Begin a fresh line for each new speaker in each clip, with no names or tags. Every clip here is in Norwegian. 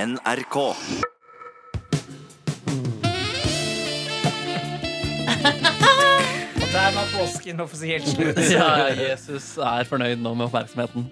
NRK.
Og der var påsken offisielt slutt.
Ja, Jesus er fornøyd nå med oppmerksomheten.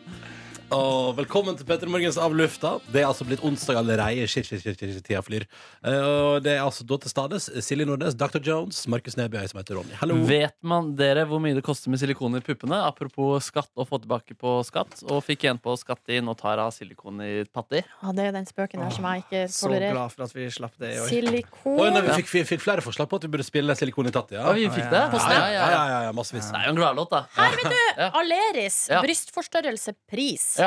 Og velkommen til Petter Morgens av lufta. Det er altså blitt onsdag allerede. Shit, shit, shit, shit, shit, tida flyr. Eh, og det er altså da til stades Silje Nordnes, Dr. Jones, Markus Neby og jeg som heter Ronny. Hallo.
Vet man dere hvor mye det koster med silikon i puppene? Apropos skatt og få tilbake på skatt. Og fikk en på skatt i Notara silikon i patti.
Ja, det er jo den spøken der som jeg ikke
Så
tolererer.
glad for at vi slapp det i år.
Silikon
Oi, nei, vi fikk, vi fikk flere forslag på at vi burde spille Silikon i tatt, ja.
Ja, vi fikk det.
På
Ja,
ja,
ja, ja,
ja, ja, ja, massevis.
Det er jo en gladlåt, da.
Her, vet du!
Ja.
Aleris.
Ja.
Brystforstørrelse. Pris.
Ja.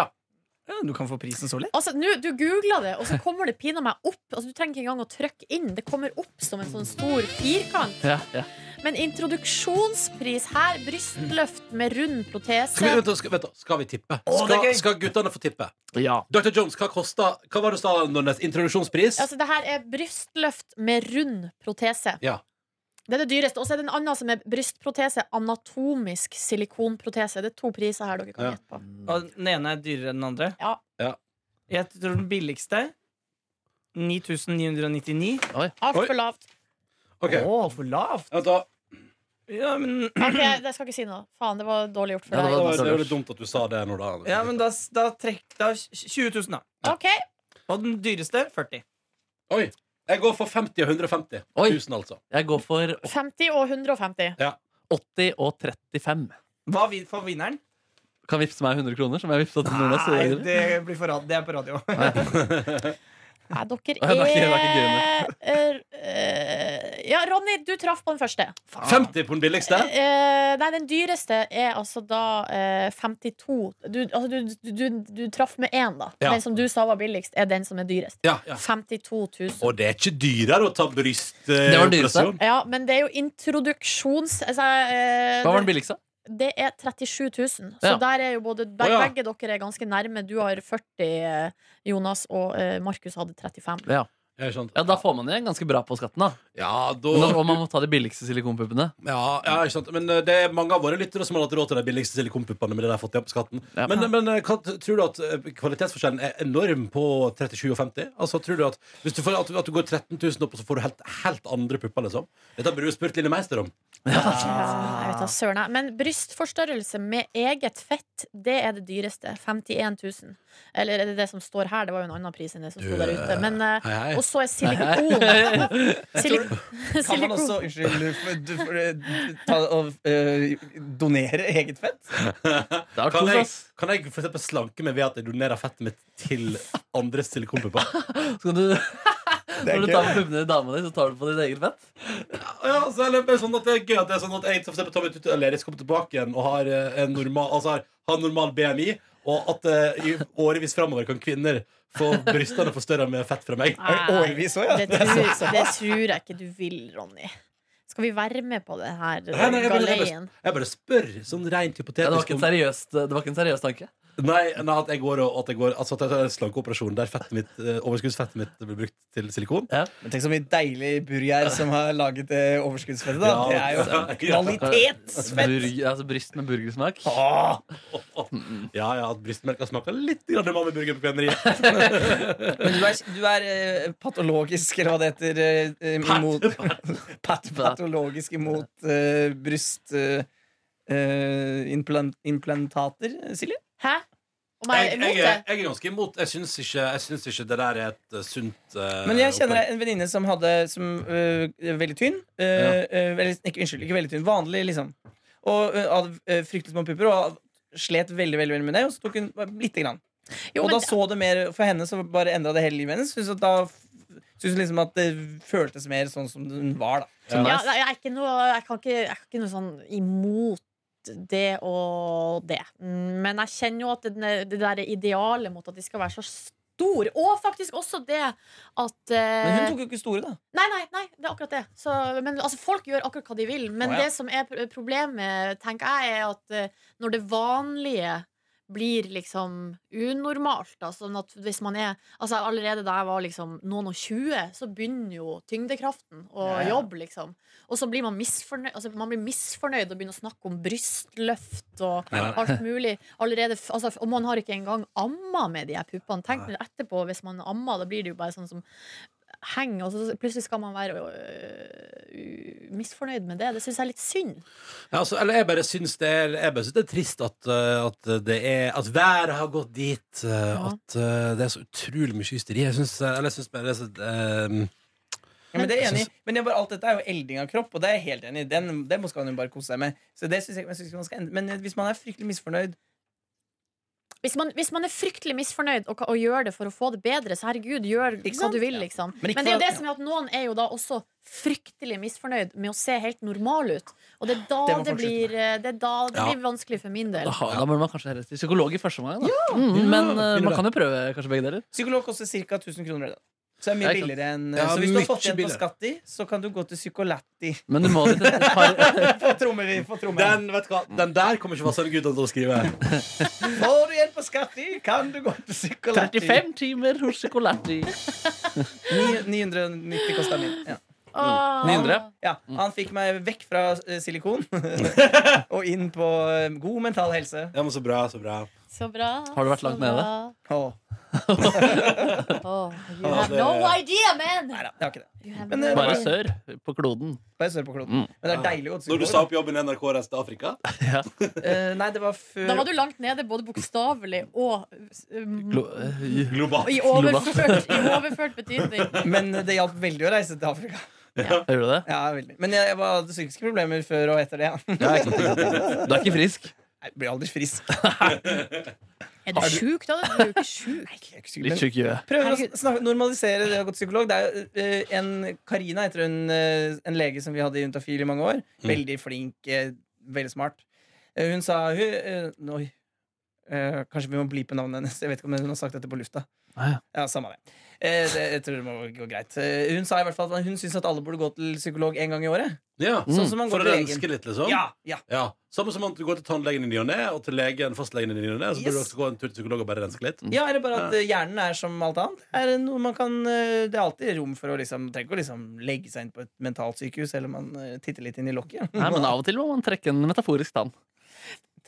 Ja, Du kan få prisen så lett.
Altså, nu, Du googla det, og så kommer det pinadø meg opp. Altså, Du trenger ikke engang å trykke inn. Det kommer opp som en sånn stor firkant.
Ja, ja.
Men introduksjonspris her, brystløft med rund
Skal vi,
protese
vent, da, skal, vent, da, skal vi tippe?
Å, det er
Skal,
gøy.
skal guttene få tippe?
ja.
Dr. Jones, hva kosta Hva var det du sa, Nordnes? Introduksjonspris?
Altså, det her er brystløft med rund protese.
Ja.
Det er det dyreste. Og så er det en annen som er brystprotese. Anatomisk silikonprotese. Det er to priser her dere kan
Ja.
gjette på.
Og den ene er dyrere enn den andre.
Ja.
Ja.
Jeg tror den billigste 9999.
Oi.
Altfor lavt.
OK.
Å, for lavt!
Vent, da.
Ja men,
Ok, jeg skal ikke si noe. Faen, det var dårlig gjort for
Ja,
Det
deg.
var-
var det var litt dumt at du sa det nå, da.
ja, men da, da trekk da 20 000, da.
Ok,
Og den dyreste 40.
Oi. Jeg går for 50 og 150.
Oi.
1000, altså.
Jeg går for
50 og 150.
80 og 35.
Hva vi- får vinneren?
Kan vippse meg 100 kroner, som jeg vippsa til Nordnes.
Nei, det, blir for, rad- det er på radio.
Nei, dere
Nei, det er ikke- det er ikke
er Eh, Ja, Ronny, du traff på den første.
50 på den billigste?
Eh, nei, den dyreste er altså da eh, 52 Du, altså, du, du, du, du traff med én, da.
Ja.
Den som du sa var billigst, er den som er dyrest.
Ja, ja.
52 000.
Og det er ikke dyrere å ta
Det var dyreste.
brystoperasjon.
Ja, men det er jo introduksjons... Altså, eh,
Hva var den billigste?
det er 37 000. Så
Ja.
der er jo både beg-
Å, ja.
Begge dere er ganske nærme. Du har 40, eh, Jonas, og eh, Markus hadde 35.
Ja, ikke sant?
Ja, Da får man igjen ganske bra på skatten, da.
Ja, da
Men da- Og man må ta de billigste silikonpuppene.
ja, ja, ikke sant. Men eh, det er mange av våre lyttere som har hatt råd til de billigste silikonpuppene. Men det der fått de opp skatten
Ja.
Men, men eh, hva, tror du at eh, kvalitetsforskjellen er enorm på 37 og 50? Altså, tror du at Hvis du, får, at, du- at du går 13 000 opp, og så får du helt, helt andre pupper, liksom? Dette burde du spurt Lille Meister om.
Ja, jeg vet da søren. jeg. Men brystforstørrelse med eget fett, det er det dyreste. 51 000. Eller er det det som står her? Det var jo en annen pris enn det som sto der ute. Men, eh,
Hei, hei.
og så er silikon. Silik
Kan man
silikon.
også unnskyld, for- du- for- eh, ta og eh, donere eget fett?
Det er
Kan
kos,
jeg,
ass.
kan jeg for eksempel slanke meg ved at jeg donerer fettet mitt til andre silikonpupper?
Skal du,
Det er
når du
gøy.
tar på puppene til dama di, så tar du på ditt eget fett?
Ja, altså, eller bare sånn at det er gøy at det er sånn at jeg for eksempel tar meg ut Aleris kommer tilbake igjen og har eh, en normal, altså, har, har normal BMI, og at eh, i årevis framover kan kvinner få brystene forstørra med fett fra meg.
Er det årevis også, ja?
det, tror, det tror jeg ikke du vil, Ronny. Skal vi være med på det her
Nei, nei, jeg bare- jeg
galeien?
Jeg bare spør sånn rent
Ja, det, var ikke
hypotetisk
en
om-
seriøs, det var ikke en seriøs tanke.
Nei, nei, at jeg går og at jeg går Altså at jeg tar en slankeoperasjon der fettet mitt, eh, overskuddsfettet mitt blir brukt til silikon.
Men tenk så mye deilig burger som har laget eh, overskuddsfettet. da Det er jo
ja,
kvalitetsfett!
Burg, altså bryst med burgersmak.
Åh,
ja, ja, at brystmelka smaker litt grann mammeburger på kveneriet.
Men du er, du er eh, patologisk, eller hva det heter eh, eh, imot, pat, Patologisk imot eh, bryst eh, eh, implan- implantater, Silje?
Hæ? Om jeg er
jeg,
imot
jeg,
det?
er- jeg er ganske imot. Jeg syns ikke, jeg syns ikke det der er et eh, sunt eh,
Men jeg kjenner
opplegg.
en venninne som hadde Som øh, er veldig tynn. Øh, øh, veldig, ikke, unnskyld, ikke veldig tynn. Vanlig, liksom. Og øh, hadde øh, fryktelig små pupper og slet veldig veldig, veldig med det. Og så tok hun bare lite grann.
Jo,
og
men-
da så det mer For henne så bare endra det hele livet hennes. Synes at da synes hun liksom at det føltes mer sånn som hun var, da.
Som
Ja,
nice.
nei, jeg, er ikke noe, jeg, kan ikke, jeg er ikke noe sånn imot det og det. Mm, Men jeg kjenner jo at det, det der idealet mot at de skal være så stor Og faktisk også det at
Men hun
eh,
tok jo ikke store, da.
Nei, nei, nei, det er akkurat det. Så, men, altså, folk gjør akkurat hva de vil. Men
Å, ja.
det som er pr- problemet, tenker jeg, er at eh, når det vanlige blir liksom unormalt. Da. Sånn at hvis man er Altså Allerede da jeg var liksom noen og tjue, så begynner jo tyngdekraften å
Ja, ja.
jobbe, liksom. Og så blir man misfornøyd, altså, man blir misfornøyd og begynner å snakke om brystløft og
Ja.
alt mulig. Allerede, f- altså, og man har ikke engang amma med de her puppene. Tenk nå etterpå, hvis man ammer, da blir det jo bare sånn som henger, og så plutselig skal man være øh, misfornøyd med det. Det syns jeg er litt synd.
Ja, altså, eller jeg bare syns det er, jeg bare syns det er trist at, eh, at det er At været har gått dit. eh,
Ja.
At eh, det er så utrolig mye hysteri. Jeg syns, eh, eller jeg syns bare det er så eh,
Ja, men det er jeg enig i. Men det er bare, alt dette er jo elding av kropp, og det er jeg helt enig i. Den, den skal han jo bare kose seg med. Så det synes jeg, jeg synes man skal endre. Men eh, hvis man er fryktelig misfornøyd
Hvis man, hvis man er fryktelig misfornøyd og, og gjør det for å få det bedre, så herregud, gjør
Ikke
hva
sant?
du vil,
Ja.
liksom.
Men
Men,
ikke
det er jo
for at-
det som er at noen er jo da også fryktelig misfornøyd med å se helt normal ut. Og det er da
Det må
det,
fortsette
blir, eh, det er da det
Ja.
blir vanskelig for min del.
Da, har- da burde man kanskje heller til psykolog i første omgang. da. Mm, men eh, man kan jo prøve kanskje begge deler.
Psykolog koster ca. 1000 kroner. Da. Så det er mye
Ja, ikke sant.
billigere enn
Ja,
Så hvis du har fått
mye
igjen på
billigere.
Skatti, så kan du gå til Psykolatti.
Men du må dit et par
Få trommer, vi, få trommer.
den, vet du hva, Mm. den der kommer ikke Vassend Gudal til å skrive.
Får du igjen på Skatti, kan du gå til Psykolatti.
35 timer hos Chocolati.
Ni- 990 kosta min. Ja.
Mm.
Åh.
900?
ja.
Mm.
Han fikk meg vekk fra eh, silikon og inn på eh, god mental helse.
Ja, men så bra, så bra.
Så bra.
Har du vært langt nede?
Åh,
Oh, you
Ja,
have
det-
no idea, man!
nei da, det var ikke det.
You have
Men eh,
no
det
Bare
idea.
sør på kloden.
Bare sør på kloden.
Mm.
Men det er deilig å gå til
Når du
psykolog,
sa opp jobben i NRK Resten av Afrika
da. Eh, Nei, det var før
Da var du langt nede, både bokstavelig og um,
Glo eh,
Globalt.
i, overført, I overført betydning.
Men det hjalp veldig å reise til Afrika.
Hører du det?
Ja, veldig. Men jeg, jeg var- hadde psykiske problemer før og etter det. Ja.
Du er ikke frisk.
Jeg blir aldri frisk.
Er du sjuk, da? Du er jo ikke sjuk.
Jeg er ikke
Litt
psykolog.
tjukk i huet.
Prøver å snak- normalisere det å gå til psykolog. Det er jo eh, en Karina heter hun, eh, en lege som vi hadde i Juntafil i mange år. Veldig flink, eh, veldig smart. Eh, Hun sa hun, eh, Oi. Eh, Kanskje vi må bleepe navnet hennes. Jeg vet ikke om hun har sagt dette på lufta.
Ah, ja.
Ja, samme det. Eh, det jeg tror det må gå greit. Eh, Hun sa i hvert fall at hun syns at alle burde gå til psykolog en gang i året.
Ja,
Mm.
Sånn som man
For
går
å
til
renske
legen.
litt, liksom?
Ja, ja.
Ja. Samme som at du går til tannlegen i ny og ne, og til legen, fastlegen i ny og ne. Så burde du
Yes.
også gå en tur til psykolog og bare renske litt.
Mm.
Mm.
Ja, eller bare at eh, hjernen er som alt annet. Er det, noe man kan, eh, det er alltid rom for å liksom, trenger ikke å liksom legge seg inn på et mentalt sykehus, eller man eh, titter litt inn i lokket.
Nei, men av og til må man trekke en metaforisk tann.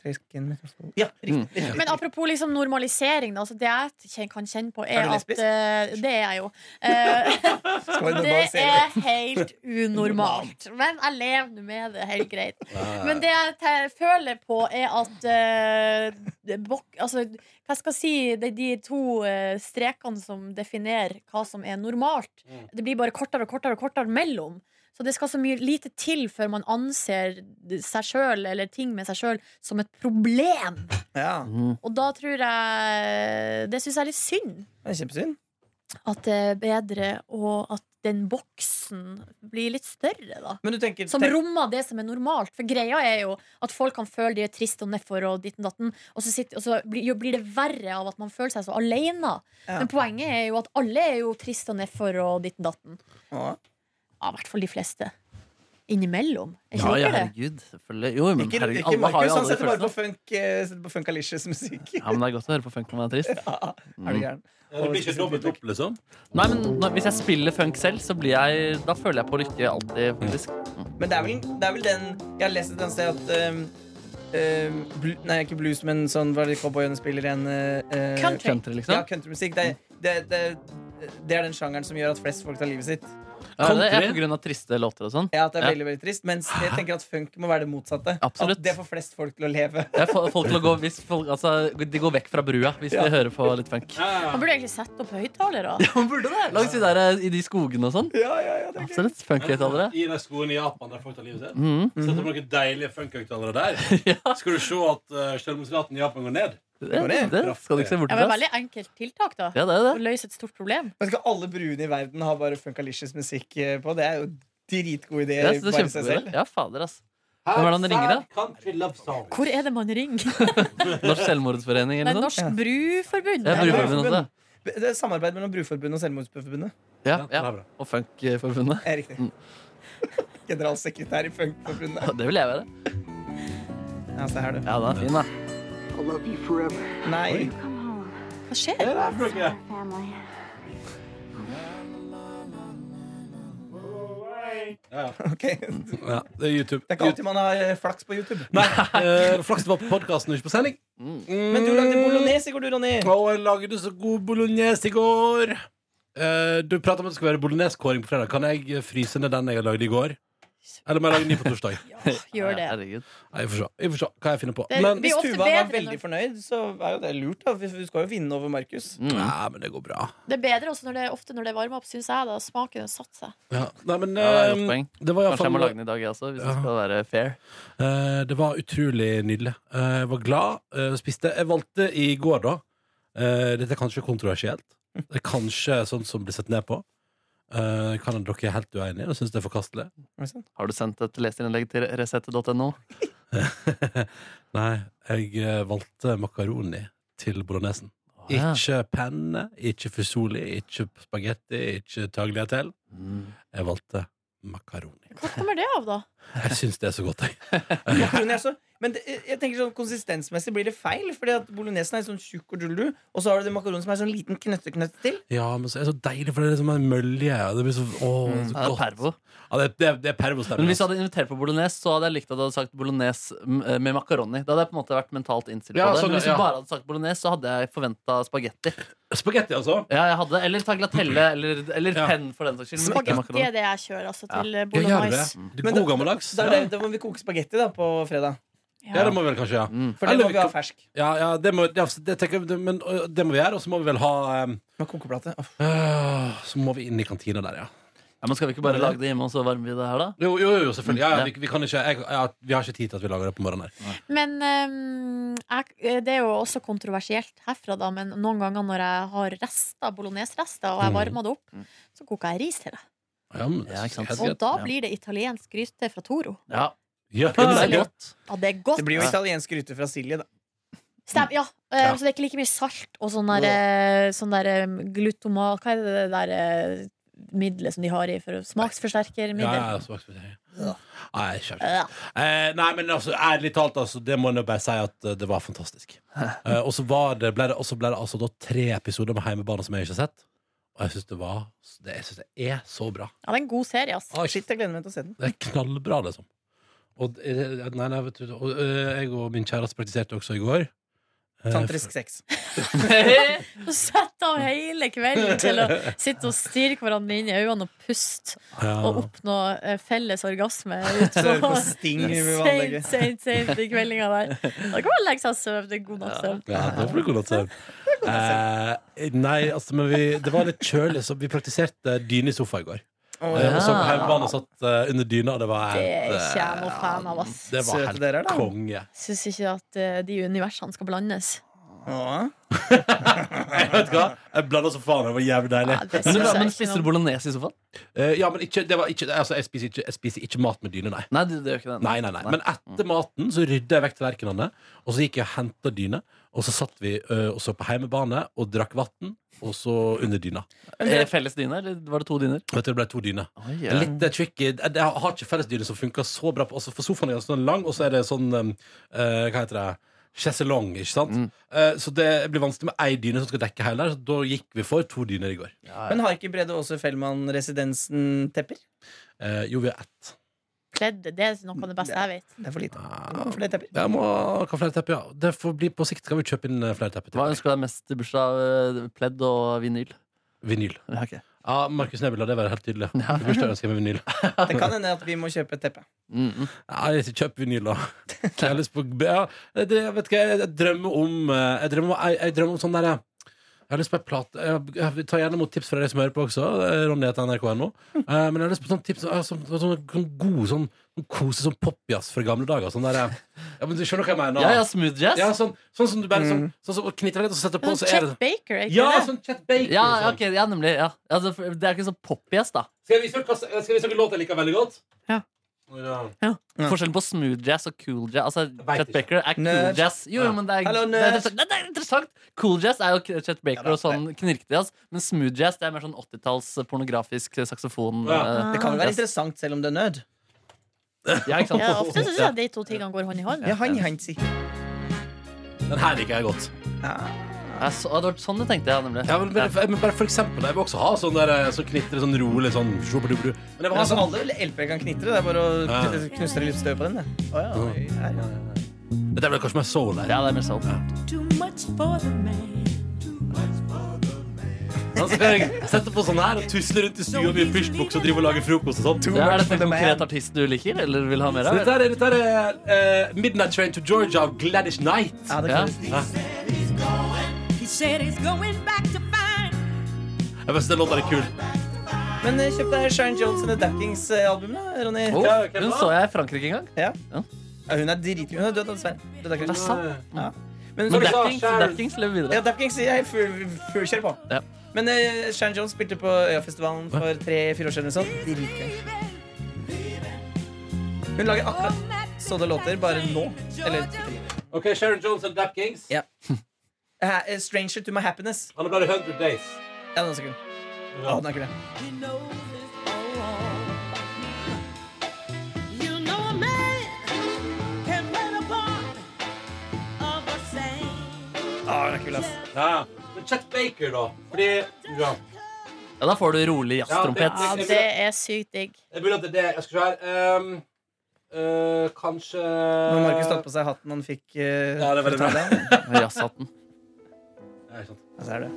Trekk en mikrofon. Ja, riktig.
Mm.
riktig.
Men apropos liksom normalisering, da, altså det jeg kjen- kan kjenne på,
Er
er,
du
at
lesbisk?
eh, Det er jeg jo. Eh,
Skal vi
det
normalisere det?
er helt unormalt. Men jeg lever nå med det, helt greit. Men det jeg te- føler på, er at eh, det bok- altså, Hva skal jeg si Det er de to eh, strekene som definerer hva som er normalt.
Mm.
Det blir bare kortere og kortere og kortere mellom. Så det skal så mye lite til før man anser seg sjøl eller ting med seg sjøl som et problem.
Ja,
Og da tror jeg Det syns jeg er litt synd.
det er kjempesynd.
At det er bedre og at den boksen blir litt større, da.
Men du tenker
Som
tenk-
rommer det som er normalt. For greia er jo at folk kan føle de er triste og nedfor og ditten datten, og så, sitter, og så blir, jo, blir det verre av at man føler seg så alene.
Ja.
Men poenget er jo at alle er jo triste og nedfor og ditten datten.
Å,
Ja, i hvert fall de fleste. Innimellom. Er
Ja,
ikke
ja,
dere det?
herregud. Selvfølgelig. Jo, men
Ikke,
herregud,
ikke
alle har
Markus,
jo
han
alle de
setter bare på
følelsene.
funk eh, Setter på funkalicious musikk.
Ja, men det er godt å høre på funk når man er trist.
Ja, er
Mm.
du gæren?
Ja, det blir ikke dobbelt opp, liksom?
Nei, men når, Hvis jeg spiller funk selv, så blir jeg, da føler jeg på lykke alltid. faktisk
Men det er, vel, det er vel den Jeg har lest et eller annet sted at ehm, ehm, blu, Nei, ikke blues, men sånn Hva er det cowboyene spiller igjen? eh, eh,
Country.
Country,
Ja,
liksom.
countrymusikk. Det, det, det, det er den sjangeren som gjør at flest folk tar livet sitt.
Ja, det er
country.
på grunn av triste låter og sånn.
Ja, at det er
Ja.
veldig, veldig trist Mens jeg tenker at funk må være det motsatte.
Absolutt.
At det får flest folk til å leve.
Jeg får folk til å gå hvis folk, altså, De går vekk fra brua hvis de hører på litt funk.
liksom.
Man burde egentlig sette opp høyttalere.
Ja, man burde det Langs de der eh, i de skogene og sånn.
Ja, ja, ja, det er gøy.
Absolutt. Funkhøyttalere.
I de skoene i Japan der folk tar livet sitt.
Mm.
Sett opp noen deilige funkhøyttalere der.
Ja,
Skal du se at uh, selvmordsraten i Japan går ned?
det, det skal du ikke se bort
Ja,
fra.
men
ass.
veldig enkelt tiltak, da.
Ja, det er
For
det.
Å løse et stort problem.
Men skal alle bruene i verden ha bare funkalicious musikk eh, på? Det er jo dritgod idé.
Ja,
bare i
så det er
seg
kjempebra.
selv.
Ja, fader, ass. Hvem er det han ringer, da?
Country love song.
Hvor er det man ringer?
Norsk selvmordsforening
Det
eller
er
noe sånt.
Norsk Bruforbund.
Ja,
Bruforbund.
Bruforbundet.
Det er samarbeid mellom Bruforbundet og Selvmordsforbundet.
Ja,
Ja, det
ja.
er bra.
Og Funkforbundet.
Er riktig. Generalsekretær i Funkforbundet.
Ja, Det vil jeg være.
Ja, se her, du.
Ja, den er fin, da.
I'll love you forever.
Nei.
Come home.
Hva skjer?
Det er Frank,
Our family.
Ja, ja.
Ok. Det
ja, det er YouTube.
er ikke alltid man har eh, flaks på YouTube.
Nei, eh, Flaks det var på podkasten og ikke på sending.
Men du
mm.
lagde bolognese i går, du, Ronny.
Og jeg lagde så god bolognese i går. Eh, du prata om at det skulle være bologneskåring på fredag. Kan jeg eh, fryse ned den jeg lagde i går? Eller må jeg lage ny på torsdag?
Gjør det.
Herregud.
Nei, Vi får se Vi får se hva jeg finner på.
Det-
Men,
vi-
Sånn, Hvis
ofte
Tuva var
bedre
veldig
når-
fornøyd, så er jo det lurt. da For Du skal jo vinne over Markus.
Mm.
nei, men det går bra.
Det er bedre også når det, ofte når det varmer opp, syns jeg. Da smaken har satt seg.
Ja. Nei, men
Ja, det er et
eh,
godt poeng.
det var
Kanskje jeg må
iallfall
lage den i dag, jeg også, hvis det skal være fair.
Eh, Det var utrolig nydelig. Eh, Jeg var glad, eh, spiste. Jeg valgte i går, da eh, Dette er kanskje kontroversielt. Det er kanskje sånn som blir sett ned på. Eh, Kan hende dere er helt uenige og syns det er forkastelig.
Har du sendt et leserinnlegg til resette.no?
Nei, jeg eh, valgte makaroni til bolognesen.
Ja.
Ikke penne, ikke fusoli, ikke spagetti, ikke tagliatelle.
Mm.
Jeg valgte makaroni.
Hva kommer det av, da?
Jeg syns det er så godt, jeg.
Makaroni er så men det, jeg tenker sånn konsistensmessig blir det feil. Fordi at bolognesen er sånn tjukk og dullu, og så har du det makaronen som er sånn liten knøtteknøtt til.
Ja, men så er det så deilig, for det er liksom en mølje. og Det blir så, åh, det er
Mm. Ja,
så
det er
godt.
pervo.
Ja, det, det, det er altså. pervostemning.
Men hvis du hadde invitert på bolognese, så hadde jeg likt at du hadde sagt bolognese m- eh, med makaroni. Da hadde jeg på en måte vært mentalt innstilt på
Ja,
det.
sånn,
Men hvis
ja.
du bare hadde sagt bolognese, så hadde jeg forventa spagetti.
Spagetti, altså.
Ja, jeg hadde, eller tagliatelle, eller, eller
Ja.
penn, for den saks skyld. men ikke
Spagetti
makaroni.
er det jeg kjører altså, til eh,
Ja, gjør det.
bolognese.
Du
Men
er god
det-
gammeldags.
Så da, er det, da må vi koke spagetti da på fredag.
Ja, det må vi vel kanskje, ja.
Mm.
For det
Eller
må
vi
vi ha
kan-
fersk.
ja, ja det, må, ja, så det, tenker jeg- det, men, øh, det må vi gjøre, og så må vi vel ha ehm,
Med kokeplate. Åh.
øh, Så må vi inn i kantina der, ja.
Ja, men skal vi ikke bare lage det hjemme, og så varmer vi det her, da?
Jo, jo, jo selvfølgelig. Ja, ja,
Mm, Ja.
vi, vi, kan ikke, jeg, ja, vi har ikke tid til at vi lager det på morgenen her.
Men ehm, jeg, det er jo også kontroversielt herfra, da. Men noen ganger når jeg har rester, bolognesrester, og jeg varmer det opp, så koker jeg ris til det.
Ja, men,
Ja, ikke sant.
helt
Og
greit.
da
ja.
blir det italiensk gryte fra Toro.
Ja,
Ja,
det er
det er godt.
godt.
Ja, det er godt!
Det blir jo italiensk gryte fra Silje, da.
Stem, ja. Eh,
Ja.
Så det er ikke like mye salt og sånn der, eh, sånn der eh, glutomat Hva er det der eh, middelet som de har i for
Ja,
smaksforsterkermiddel?
ja, smaksforsterker. Nei, kjeft.
Ja.
Eh, nei, men altså, ærlig talt, altså, det må jeg nå bare si at eh, det var fantastisk. Eh, og så var det, ble det, og så ble det altså da tre episoder med Heimebane som jeg ikke har sett. Og jeg syns det var det, Jeg synes det er så bra.
Ja, det er en god serie, ass.
Ah,
Shit, jeg gleder meg til å se den.
Det er knallbra, liksom. Og, det- nei, nei, vet du, og, eh, jeg og min kjæreste praktiserte også i går. Eh,
Tantrisk Sånn sex.
Så sett av hele kvelden til å sitte og stirre hverandre inn i øynene og puste
ja.
og oppnå eh, felles orgasme utpå
Høre på Sting vi må anlegge.
seint, seint, seint i kveldinga der. Da kan man legge seg og sove. Det er god natts søvn.
Ja, det blir god nattsøvn. Eh, nei, altså, men vi, det var litt kjølig, så vi praktiserte dyne i sofa i går.
Åh,
Eh, og så på
Ja.
hjemmebane og satt eh, under dyna, og det var
Det er
helt eh,
ikke jeg noe fan av, ass.
Det var
Søte
helt
dere er da.
konge.
Syns ikke at eh, de universene skal blandes.
Åh.
Jeg vet hva, jeg blanda så faen, det var jævlig deilig.
Ja,
Men,
det
du,
synes jeg
men
ikke
spiser du
noe om.
bolognese i sofaen?
Eh, ja, men ikke, det var ikke, altså, jeg, spiser ikke, jeg spiser ikke mat med dyne, nei.
Nei, du, det gjør ikke det.
Nei, nei, nei. Men eh, etter maten så rydda jeg vekk tallerkenene, og så gikk jeg og henta dyne. Og så satt vi ø, og så på heimebane og drakk vann, og så under dyna.
Eh, Felles dyne, eller var det to dyner?
Vet du, det ble to dyner.
Oi,
Det er Litt det er tricky. Jeg jeg har ikke fellesdyne som funker så bra. På, altså for sofaen er ganske sånn lang, og så er det sånn um, eh, Hva heter det? Chaiselong, ikke sant?
Mm.
Eh, så det blir vanskelig med ei dyne som skal dekke hele. Så da gikk vi for to dyner i går.
Men har ikke Brede Aase Fellmann-residensen tepper?
Eh, jo, vi har ett.
Kledd, det er noe av det beste jeg vet.
Det er for lite.
Ah,
For det er tepper.
Jeg må ha flere tepper, ja. Det får bli på sikt. Skal vi kjøpe inn eh, flere tepper?
Hva
til?
ønsker du deg mest i bursdag? eh, Pledd og vinyl?
Vinyl.
Ja, ok.
Ja, Markus Neby, la det være helt tydelig. Ja. Bursdag ønsker jeg meg vinyl.
Det kan hende at vi må kjøpe et teppe.
Mm, mm.
Ja, jeg kjøp vinyl, da. Jeg har lyst på ja, det, jeg vet ikke, jeg, jeg drømmer om eh, Jeg drømmer, om- jeg, jeg drømmer om sånn derre Jeg har lyst på en plate jeg, jeg tar gjerne imot tips fra deg som hører på også. eh, Ronny heter nrk.no. Eh, men jeg har lyst på sånn tips eh, sånn, sånn, sånn god sånn, sånn kose sånn popjazz fra gamle dager. Sånn derre ja, men Du skjønner hva jeg mener?
ja, ja, smooth jazz.
Ja, sånn, sånn som du bare sånn, sånn, som knitrer litt og setter på,
Sånn
så
Chet
er det
Baker, er ikke
Ja,
det?
sånn Chet Baker.
Ja,
og sånn.
ok, ja, nemlig. Ja. Altså, for- det er ikke så popjazz, da.
Skal jeg vise dere hva- skal jeg vise dere en låt jeg liker veldig godt?
Ja.
ja.
Ja.
Forskjellen på smooth jazz og cool jazz Altså,
vet
Chet
ikke.
Baker er cool
Nerd.
jazz. Jo, jo,
Ja.
men det er,
Hallo,
det, er
nerd.
interessant. Nei, det er interessant. Cool jazz er jo k- Chet Baker
Ja da,
og sånn knirkete jazz, men smooth jazz det er mer sånn 80-talls pornografisk saksofon.
Ja.
eh,
Det kan jo være
jazz.
interessant
interessant.
selv om det er nød.
Ja, ikke sant?
altså. Ja, ofte syns jeg de to tingene går hånd i hånd.
Ja, han, han, si.
Den her liker jeg godt.
Ja, så, det var sånn det tenkte jeg nemlig.
Ja, men, bare, for- men bare for eksempel, jeg vil også ha sånn der eh, som knitrer sånn rolig sånn sjopadubru. Men jeg vil
Men
ha
altså,
sånn
alle LP-er kan knitre. Det er bare å
Ah.
kn- knustre litt støv på den. Det. Å, ja. oi, her, ja.
Dette er vel kanskje mer soul her.
Ja, det er mer sånn.
Too much for the man.
Da skal Altså, jeg sette på sånn her og tusle rundt i stua med pysjbukse og drive og lage frokost og sånn.
Ja, er dette en konkret artist du liker, eller vil ha mer av?
Dette er, dette er eh, Midnight Train to Georgia av Gladys Knight.
Ja, det
Ja.
kan du si.
He said he's going back to find.
Jeg synes Den låta er kul.
Men eh, kjøp deg Shine Jones and The Dackings-album, da, Ronny.
Oh,
Ja, ok,
hun
bra.
så jeg i Frankrike en gang.
Ja.
Ja.
Ja, hun er dritkul. Hun er død, dessverre. Død,
Det er
dessverre.
sant.
Ja. Men,
Men
men
Dackings, Dackings lever
ja,
videre.
Dackings jeg full- full kjør på.
Ja.
Men eh, Shine Jones spilte på Øyafestivalen for tre-fire år siden. eller Sånn. Dritkul. Hun lager akkurat sånne låter, bare nå. Eller
Ok, Sharon Jones and Dap Kings.
Ja. Eh, Stranger to my happiness.
Han er bare 100 Days.
Ja, den er så kul. Ja, den er kul, ja.
He knows it's all. You know a man can play the part of a saint.
Ah, den er kul, ass.
Ja. Men Chet Baker, da. Fordi ja.
Ja, da får du rolig jazztrompet.
Ja, det er sykt digg.
Jeg burde at det Jeg skal se her um, øh, Kanskje
Nå har Markus tatt på seg hatten han fikk. eh,
Ja, det er veldig
fra
bra.
Thailand.
Med jazzhatten.
Nei, sant.
Ja, så er det.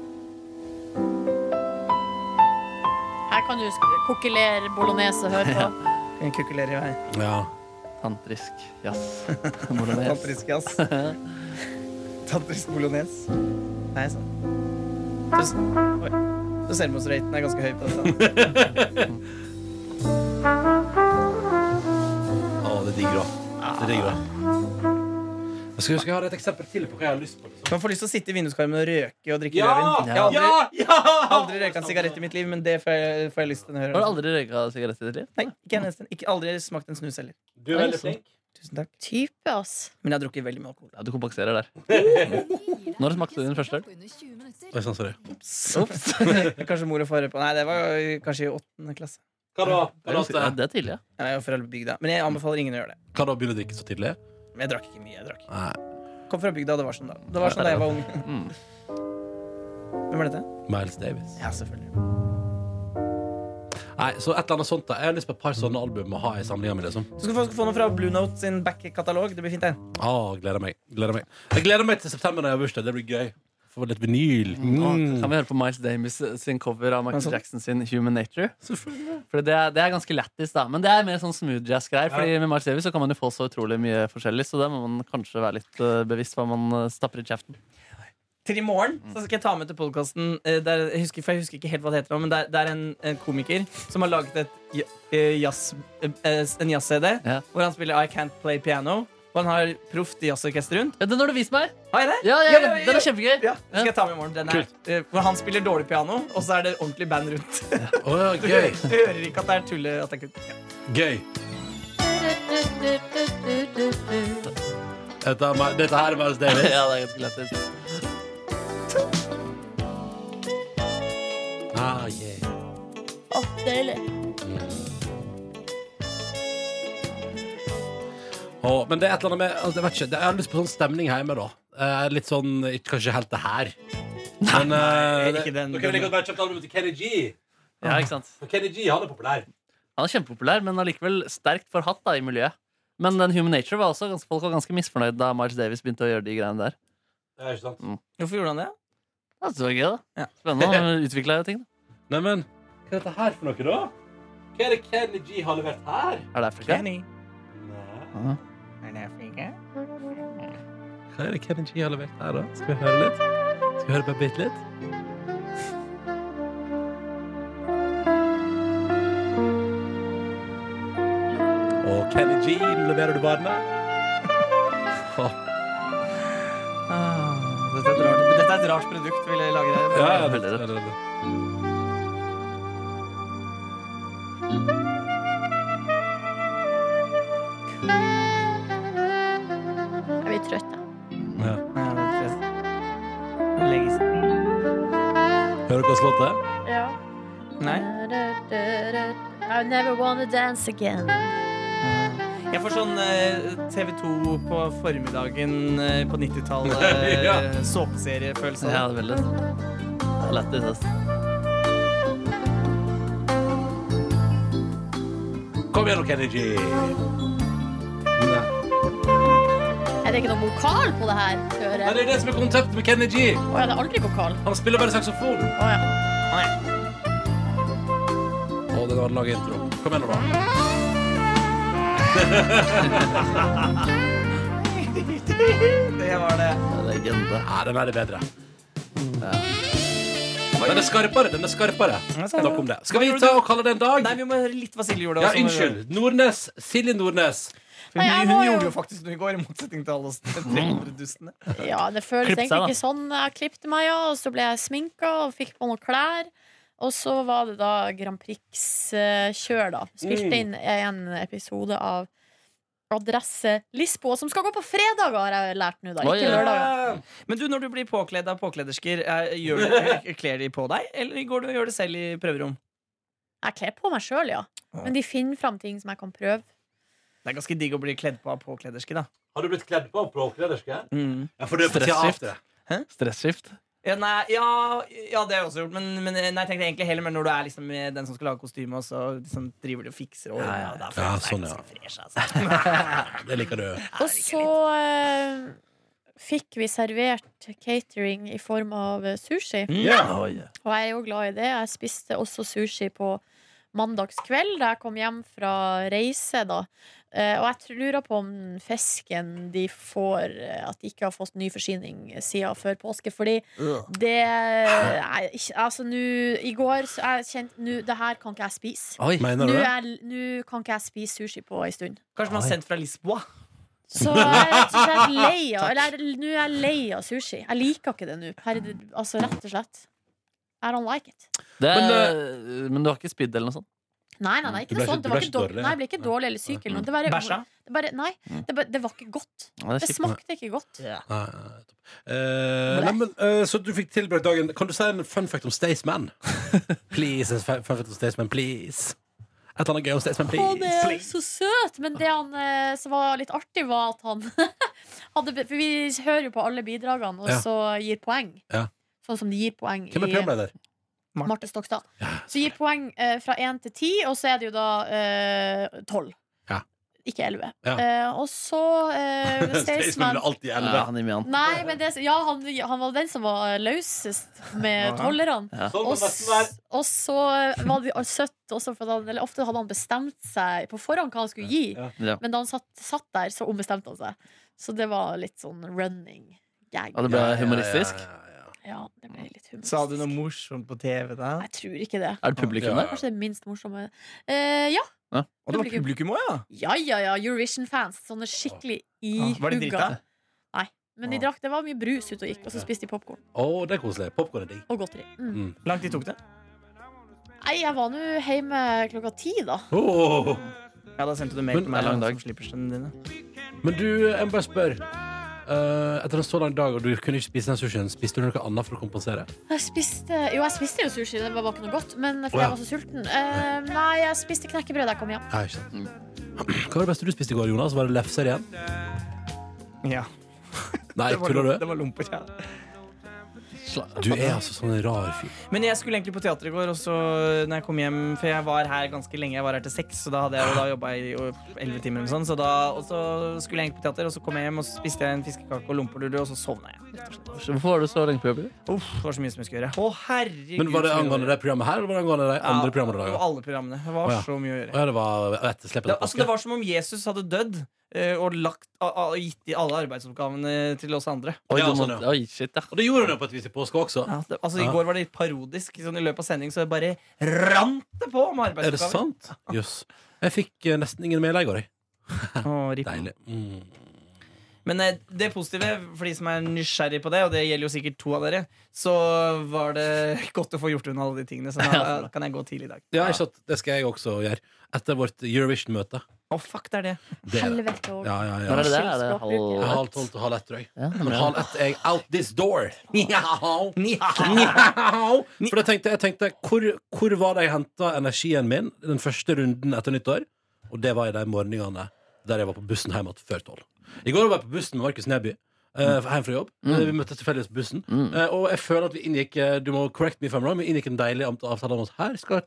Her kan du sk- kokkelere bolognese og høre på.
Kan kukulere i vei.
Ja.
Tantrisk jazz.
Tantrisk jazz. Tantrisk bolognese. Nei, sånn. Så, oi. så selvmordsraten er ganske høy på dette. da.
Å, det digger òg. Det digger òg. Jeg skal, skal jeg ha et eksempel til på hva jeg har lyst på. Liksom.
Man får lyst til å sitte i vinduskarmen og røke og drikke
Ja!
rødvin. Jeg
Ja!
har aldri,
ja!
aldri røyka en sigarett i mitt liv, men det får jeg, får jeg lyst til å
Har du
høre.
aldri røyka sigarett i ditt liv?
Nei, ikke en eneste. Ikke aldri smakt en snus heller.
Du er veldig flink.
Tusen takk.
Type, ass.
Men jeg har drukket veldig mye alkohol.
Ja, du kompenserer der. Når smakte du din første øl?
Oi, sånn, sorry.
Ops.
Kanskje mor og far hører på. Nei, det var kanskje i åttende klasse.
Hva da? Hva da,
Ja,
at-
det er tidlig, ja.
Jeg er jo fra bygda. Men jeg anbefaler ingen å gjøre det.
hva da å begynne å drikke så tidlig?
Men jeg drakk ikke mye. jeg drakk
Nei.
Kom fra bygda, det var sånn da. Det var sånn da jeg var ung.
Mm.
Hvem er dette?
Miles Davis.
Ja, selvfølgelig.
Nei, så et eller annet sånt da Jeg har lyst på et par sånne album å ha i samlinga mi. Liksom.
Du skal få, skal få noe fra Blue Note sin back-katalog. Det blir fint, det.
Å, Ah, gleder meg. gleder meg Jeg gleder meg til september når jeg har bursdag. Det blir gøy. Få litt vinyl.
Mm.
Ah,
Nå Kan vi høre på Miles Davis eh, sin cover av Michael
sånn.
Jackson sin Human Nature?
Selvfølgelig.
For det, er- det er ganske lættis, da. Men det er mer sånn smooth jazz-greier. Fordi med Miles Davis så kan man jo få så utrolig mye forskjellig, så det må man kanskje være litt eh, bevisst hva man eh, stapper i kjeften.
Til i morgen så skal jeg ta med til podkasten jeg, husker- for jeg husker ikke helt hva det heter, nå, men det er, det er en, en komiker som har laget et, j- eh, jazz, eh, eh, en jazz-CD
Ja.
hvor han spiller I Can't Play Piano. Og han har proft jazzorkester rundt.
Ja, den har du vist meg!
Har jeg det?
Ja, ja, den- Den er kjempegøy!
Ja, den skal jeg ta med i morgen. Den er, eh, hvor han spiller dårlig piano, og så er det ordentlig band rundt.
Å,
Du
gøy.
hører ikke at det er tulle. At det er kutt. Ja.
Gøy. Dette, er, Mi- dette her er Miles Davis.
ja, det er ganske lættis.
Ah, yeah.
Åh, deilig.
Å, men det er et eller annet med altså, jeg, vet ikke, det, jeg har lyst på sånn stemning hjemme, da. Eh, litt sånn ikke- Kanskje helt det her. Men eh, det-
ikke den-
Dere ville ikke bare kjøpt albumet til Kenny G.
Ja, ikke sant?
For Kenny G han er populær.
Han er kjempepopulær, men allikevel sterkt forhatt da, i miljøet. Men den Human Nature var også ganske, folk var ganske misfornøyd da Miles Davis begynte å gjøre de greiene der.
Det er ikke sant.
Hvorfor gjorde han det?
Ja, det var gøy, da.
Ja.
Spennende. Han utvikla jo ting. da.
Neimen, hva er dette her for noe, da? Hva er det Kenny G har levert her?
Er det Afrika?
Nei.
Ja.
Hva er det Kenny G har levert her, da? Skal vi høre litt? Skal vi høre bare bitte litt? Og Kenny G, nå leverer du barna?
Ah, Dette er, et rart, dette er et rart produkt vil jeg lage der.
Ja,
det- det-
Jeg blir trøtt, jeg.
Ja, det tror jeg. Det legges.
Hører dere låt det?
Ja.
Nei?
I never wanna dance again.
Jeg får sånn eh, TV2 på formiddagen eh, på 90-tallet.
Ja.
Eh, Såpeseriefølelse.
Ja, det er veldig det er lættis, ass.
Kom igjen, Kennedy! Nei,
Er det ikke noe vokal på det her? Hører.
det er det som er konseptet med Kennedy.
Å ja, det er aldri vokal.
Han spiller bare saksofon.
Å ja.
Og den hadde laget intro. Kom igjen, nå, da.
Det var det.
Det er Legende.
Ja, den her er bedre. Den er skarpere. den er skarpere
Den er skarpere.
Nok om det. Skal vi ta og kalle det en dag?
Nei, vi må høre litt hva Silje gjorde.
Ja,
også.
unnskyld. Nordnes. Silje Nordnes.
For Hun,
Nei, jeg
hun
var jo-
gjorde jo faktisk noe i går, i motsetning til alle oss 300-dustene.
ja, det føles
Klipp seg, da.
egentlig ikke sånn. Jeg klippte meg, ja, og så ble jeg sminka og fikk på noen klær. Og så var det da Grand Prix-kjør, da.
Mm.
Spilte inn en episode av Adresse Lisboa, som skal gå på fredager, har jeg lært nå, da.
Oi,
Ikke
ja.
lørdager.
Men du, når du blir påkledd av påkledersker, eh, gjør du, kler de på deg, eller går du og gjør det selv i prøverom?
Jeg kler på meg sjøl, ja. Men de finner fram ting som jeg kan prøve.
Det er ganske digg å bli kledd på av påkledersker, da.
Har du blitt kledd på av påklederske?
Mm.
Ja, for det er på tida
Stressskift.
etter det.
Stresskift.
Ja, nei, ja, ja, det har jeg også gjort, men, men nei, jeg tenkte egentlig heller Men når du er liksom eh, den som skal lage kostyme, og så liksom driver du og fikser og
Ja, ja.
da
Ja,
føles det
sånn,
ikke
ja.
så fresh, altså.
Det liker du.
Og så eh, fikk vi servert catering i form av eh, sushi.
Oi.
Og jeg er jo glad i det. Jeg spiste også sushi på mandagskveld da jeg kom hjem fra reise. da Eh, Og jeg tr- lurer på om fisken de får eh, At de ikke har fått ny forsyning siden før påske. Fordi det nei, ikke- Altså, nå I går så jeg kjente nå, Det her kan ikke jeg spise.
Oi.
Ah, Mener
Nå
du det?
er- nå kan ikke jeg spise sushi på ei stund.
Kanskje man har sendt fra Lisboa?
Så jeg er rett og slett lei av Eller jeg- nå er jeg lei av sushi. Jeg liker ikke det nå. Per- Altså, rett og slett. I don't like it.
Det er,
Men,
men, du har ikke spydd eller noe sånt?
Nei, nei, nei, ikke
Mm. Du ble ikke-
noe sånt.
du ble
Det var ikke
ikke
dårlig,
dårlig? Mm.
nei, jeg ble ikke dårlig eller syk eller noe. Det, bare,
Bæsja?
det, bare, nei, det, bare, det var ikke godt.
Ja, det
Det
er kjipt.
smakte ikke godt.
Nei, nei, topp. Eh, nei, men, eh, så du fikk tilbrakt dagen Kan du si en fun fact om Staysman? please, en fun fact om Staysman, please. Et eller annet gøy om Staysman,
Å, det
please.
er så søt! Men det han, eh, som var litt artig, var at han hadde be- For vi hører jo på alle bidragene, og
Ja.
så gir poeng.
Ja.
Sånn som de gir poeng
Hvem er
i
programleder?
Marte Stokstad. Så gir poeng eh, fra én til ti, og så er det jo da eh, tolv.
Ja.
Ikke elleve.
Ja.
Eh, og så eh,
Staysman
Staysman
blir alltid elleve.
Ja, han i Mian.
Nei, men det, ja, han, han var den som var løsest med tollerne.
Sånn må
Og,
det nesten være.
s- og så var det søtt også, for han, eller ofte hadde han bestemt seg på forhånd hva han skulle gi.
Ja.
Ja.
Men da han satt, satt der, så ombestemte han seg. Så det var litt sånn running gag.
Og det ble humoristisk?
Ja, ja, ja, ja.
Ja, det ble litt humoristisk.
Sa du noe morsomt på TV da?
Jeg tror ikke det.
Er det publikum
Ja.
der?
Kanskje det minst morsomme. Eh, ja.
Og det var publikum òg, ja!
ja, ja, ja. Eurovision-fans. Sånne skikkelig
Ah, Var det Ah.
ihugga.
drita?
Men de drakk, det var mye brus ute og gikk, og så spiste de popkorn
Å, det er koselig. Popkorn er digg.
og godteri. Mm.
Langt de tok det?
Nei, jeg var nå hjemme klokka ti, da.
Åh.
Ja, da sendte du mail til
Men-
Det
meg
er lang
han
dag.
som slipper sendene dine.
Men du, jeg må bare spørre. eh, etter en så lang dag, og du kunne ikke spise den sushien, spiste du noe annet for å kompensere?
Jeg spiste, jo, jeg spiste jo sushi, det var ikke noe godt, men
Å,
fordi
ja.
jeg var så sulten. Eh, nei, jeg spiste knekkebrød da jeg kom hjem.
Ja, ikke sant. Hva var det beste du spiste i går, Jonas? Var det lefser igjen?
Ja,
Nei,
det var,
tuller
lom-
du?
det var lomper, ja.
Du er altså sånn en rar fyr.
Men jeg skulle egentlig på teater i går, og så når jeg kom hjem For jeg var her ganske lenge, jeg var her til seks, så da hadde jeg jo da jobba i jo- 11 timer eller noe sånt. Så da, og så skulle jeg egentlig på teater, og så kom jeg hjem og så spiste jeg en fiskekake og lomperulle, og så sovna jeg.
Hvorfor var du så lenge på jobb?
Uff, det var så mye som jeg skulle gjøre. Å, herregud.
Men var det
så mye å gjøre.
angående det programmet her, eller var det angående de andre programmene du
Ja,
laga?
og alle programmene. Det var
Å, ja.
så mye å gjøre.
Ja, det var etterslepet
Det,
av
altså, det
påske.
var som om Jesus hadde dødd eh, og lagt, a, a, og gitt de alle arbeidsoppgavene til oss andre.
Oi,
Ja,
du må,
sånn, ja.
oi, shit, ja.
Og det gjorde hun jo på et vis i påske også.
Ja, det, altså, I
Ja.
går var det litt parodisk. Sånn, I løpet av sending så det bare rant det på om
Er det
arbeidsoppgaver.
sant? Jøss. Jeg fikk eh, nesten ingen mailer i går, jeg.
Å, rip.
Deilig. Mm.
Men eh, det positive, for de som er nysgjerrig på det, og det gjelder jo sikkert to av dere, så var det godt å få gjort unna alle de tingene. Så da kan jeg gå tidlig i dag.
Ja, ikke sant. Det skal jeg også gjøre. Etter vårt Eurovision-møte.
Å, fuck, det er det.
Det er det.
Helvete òg.
Ja, ja, ja.
Når er det der? Er det
Ja,
halv
Halv tolv til halv ett, tror jeg.
Ja, men
Men
ja.
halv ett er jeg out this door. Njau.
Nja.
Njau. For da tenkte jeg, jeg tenkte, hvor, hvor var det jeg henta energien min den første runden etter nyttår? Og det var i de morgenene der jeg var på bussen hjemme igjen før tolv. I går var jeg på bussen med Markus Neby. eh, hjem fra jobb.
Mm.
Eh, Vi møttes tilfeldigvis på bussen. Eh, og jeg føler at vi inngikk eh, Du må correct me if I'm wrong Vi inngikk en deilig amt- avtale om at her skal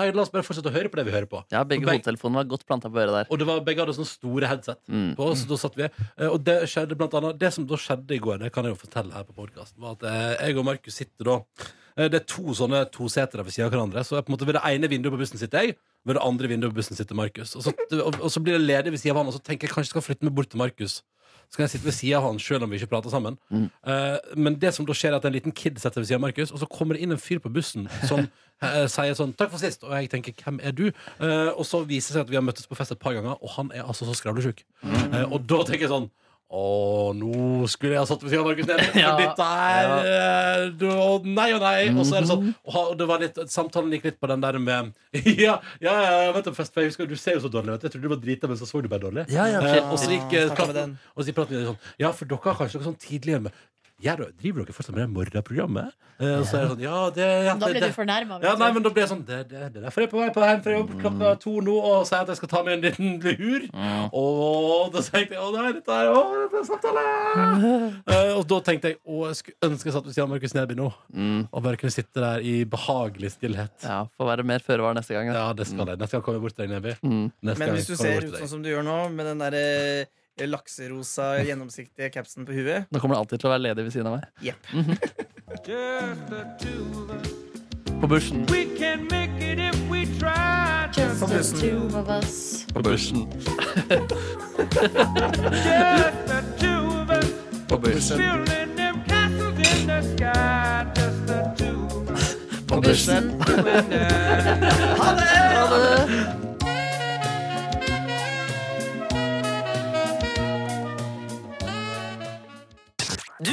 her, La oss bare fortsette å høre på det vi hører på.
Ja, Begge
Beg-
hodetelefonene var godt planta på øret der.
Og det var begge hadde sånne store headset
Mm.
på oss. Da satt vi eh, Og det skjedde blant annet Det som da skjedde i går, det kan jeg jo fortelle her på podkasten, var at eh, jeg og Markus sitter da eh, Det er to sånne to seter der ved siden av hverandre. Så jeg på en måte ved det ene vinduet på bussen sitter jeg, ved det andre vinduet på bussen sitter Markus. Og, så- og, og så blir det ledig ved siden av han, og så tenker jeg kanskje jeg skal flytte meg bort til Markus. Så kan jeg sitte ved siden av han selv om vi ikke prater sammen. Eh, men det som da skjer er at en liten kid setter seg ved siden av Markus, og så kommer det inn en fyr på bussen som eh, sier sånn 'Takk for sist', og jeg tenker 'Hvem er du?' Eh, og så viser det seg at vi har møttes på fest et par ganger, og han er altså så skravlesjuk. Eh, og da tenker jeg sånn å, nå skulle jeg ha satt ved siden av Markus Neby. For
Ja. Mhm.
dette er eh, du, å, Nei og nei. Og så er det sånn og ha- det var litt, Samtalen gikk litt på den der med Ja, ja, ja jeg vet om fest, for jeg husker du ser jo så dårlig ut. Jeg trodde du var drita, men så så du bare dårlig.
Ja, ja,
Eh, og så gikk eh,
Startet med
praten
den.
Og så praten vi sånn Ja, for dere har kanskje noe sånn tidligere med ja, da, Driver dere fortsatt med det morgenprogrammet? Eh, og så er det sånn Ja, det, ja,
Da
det,
ble du
det.
fornærma.
Ja, nei, men da blir jeg sånn Det, det, det er derfor jeg er på vei på hjem fra jobb klokka
Mm.
to nå og sier at jeg skal ta med en liten lur. Og da tenkte jeg Å, nei, dette er, å, dette er samtale! Eh, og da tenkte jeg å, jeg skulle ønske jeg satt ved siden av Markus Neby nå.
Mm.
Og bare kunne sitte der i behagelig stillhet.
Ja, Får være mer føre var neste gang. Da.
Ja, det skal jeg. Neste gang kommer jeg bort til deg, Neby.
Mm.
Neste
Mm. Men
gang
hvis du
kommer
ser
jeg
ut
bort til deg.
sånn som du gjør nå, med den der eh, lakserosa, gjennomsiktige capsen på huet
Nå kommer det alltid til å være ledig ved siden av meg. Mhm.
Jepp.
På bushen.
Just
the bussen.
two of us.
På bushen. På bushen. På bushen. Ha det!
Du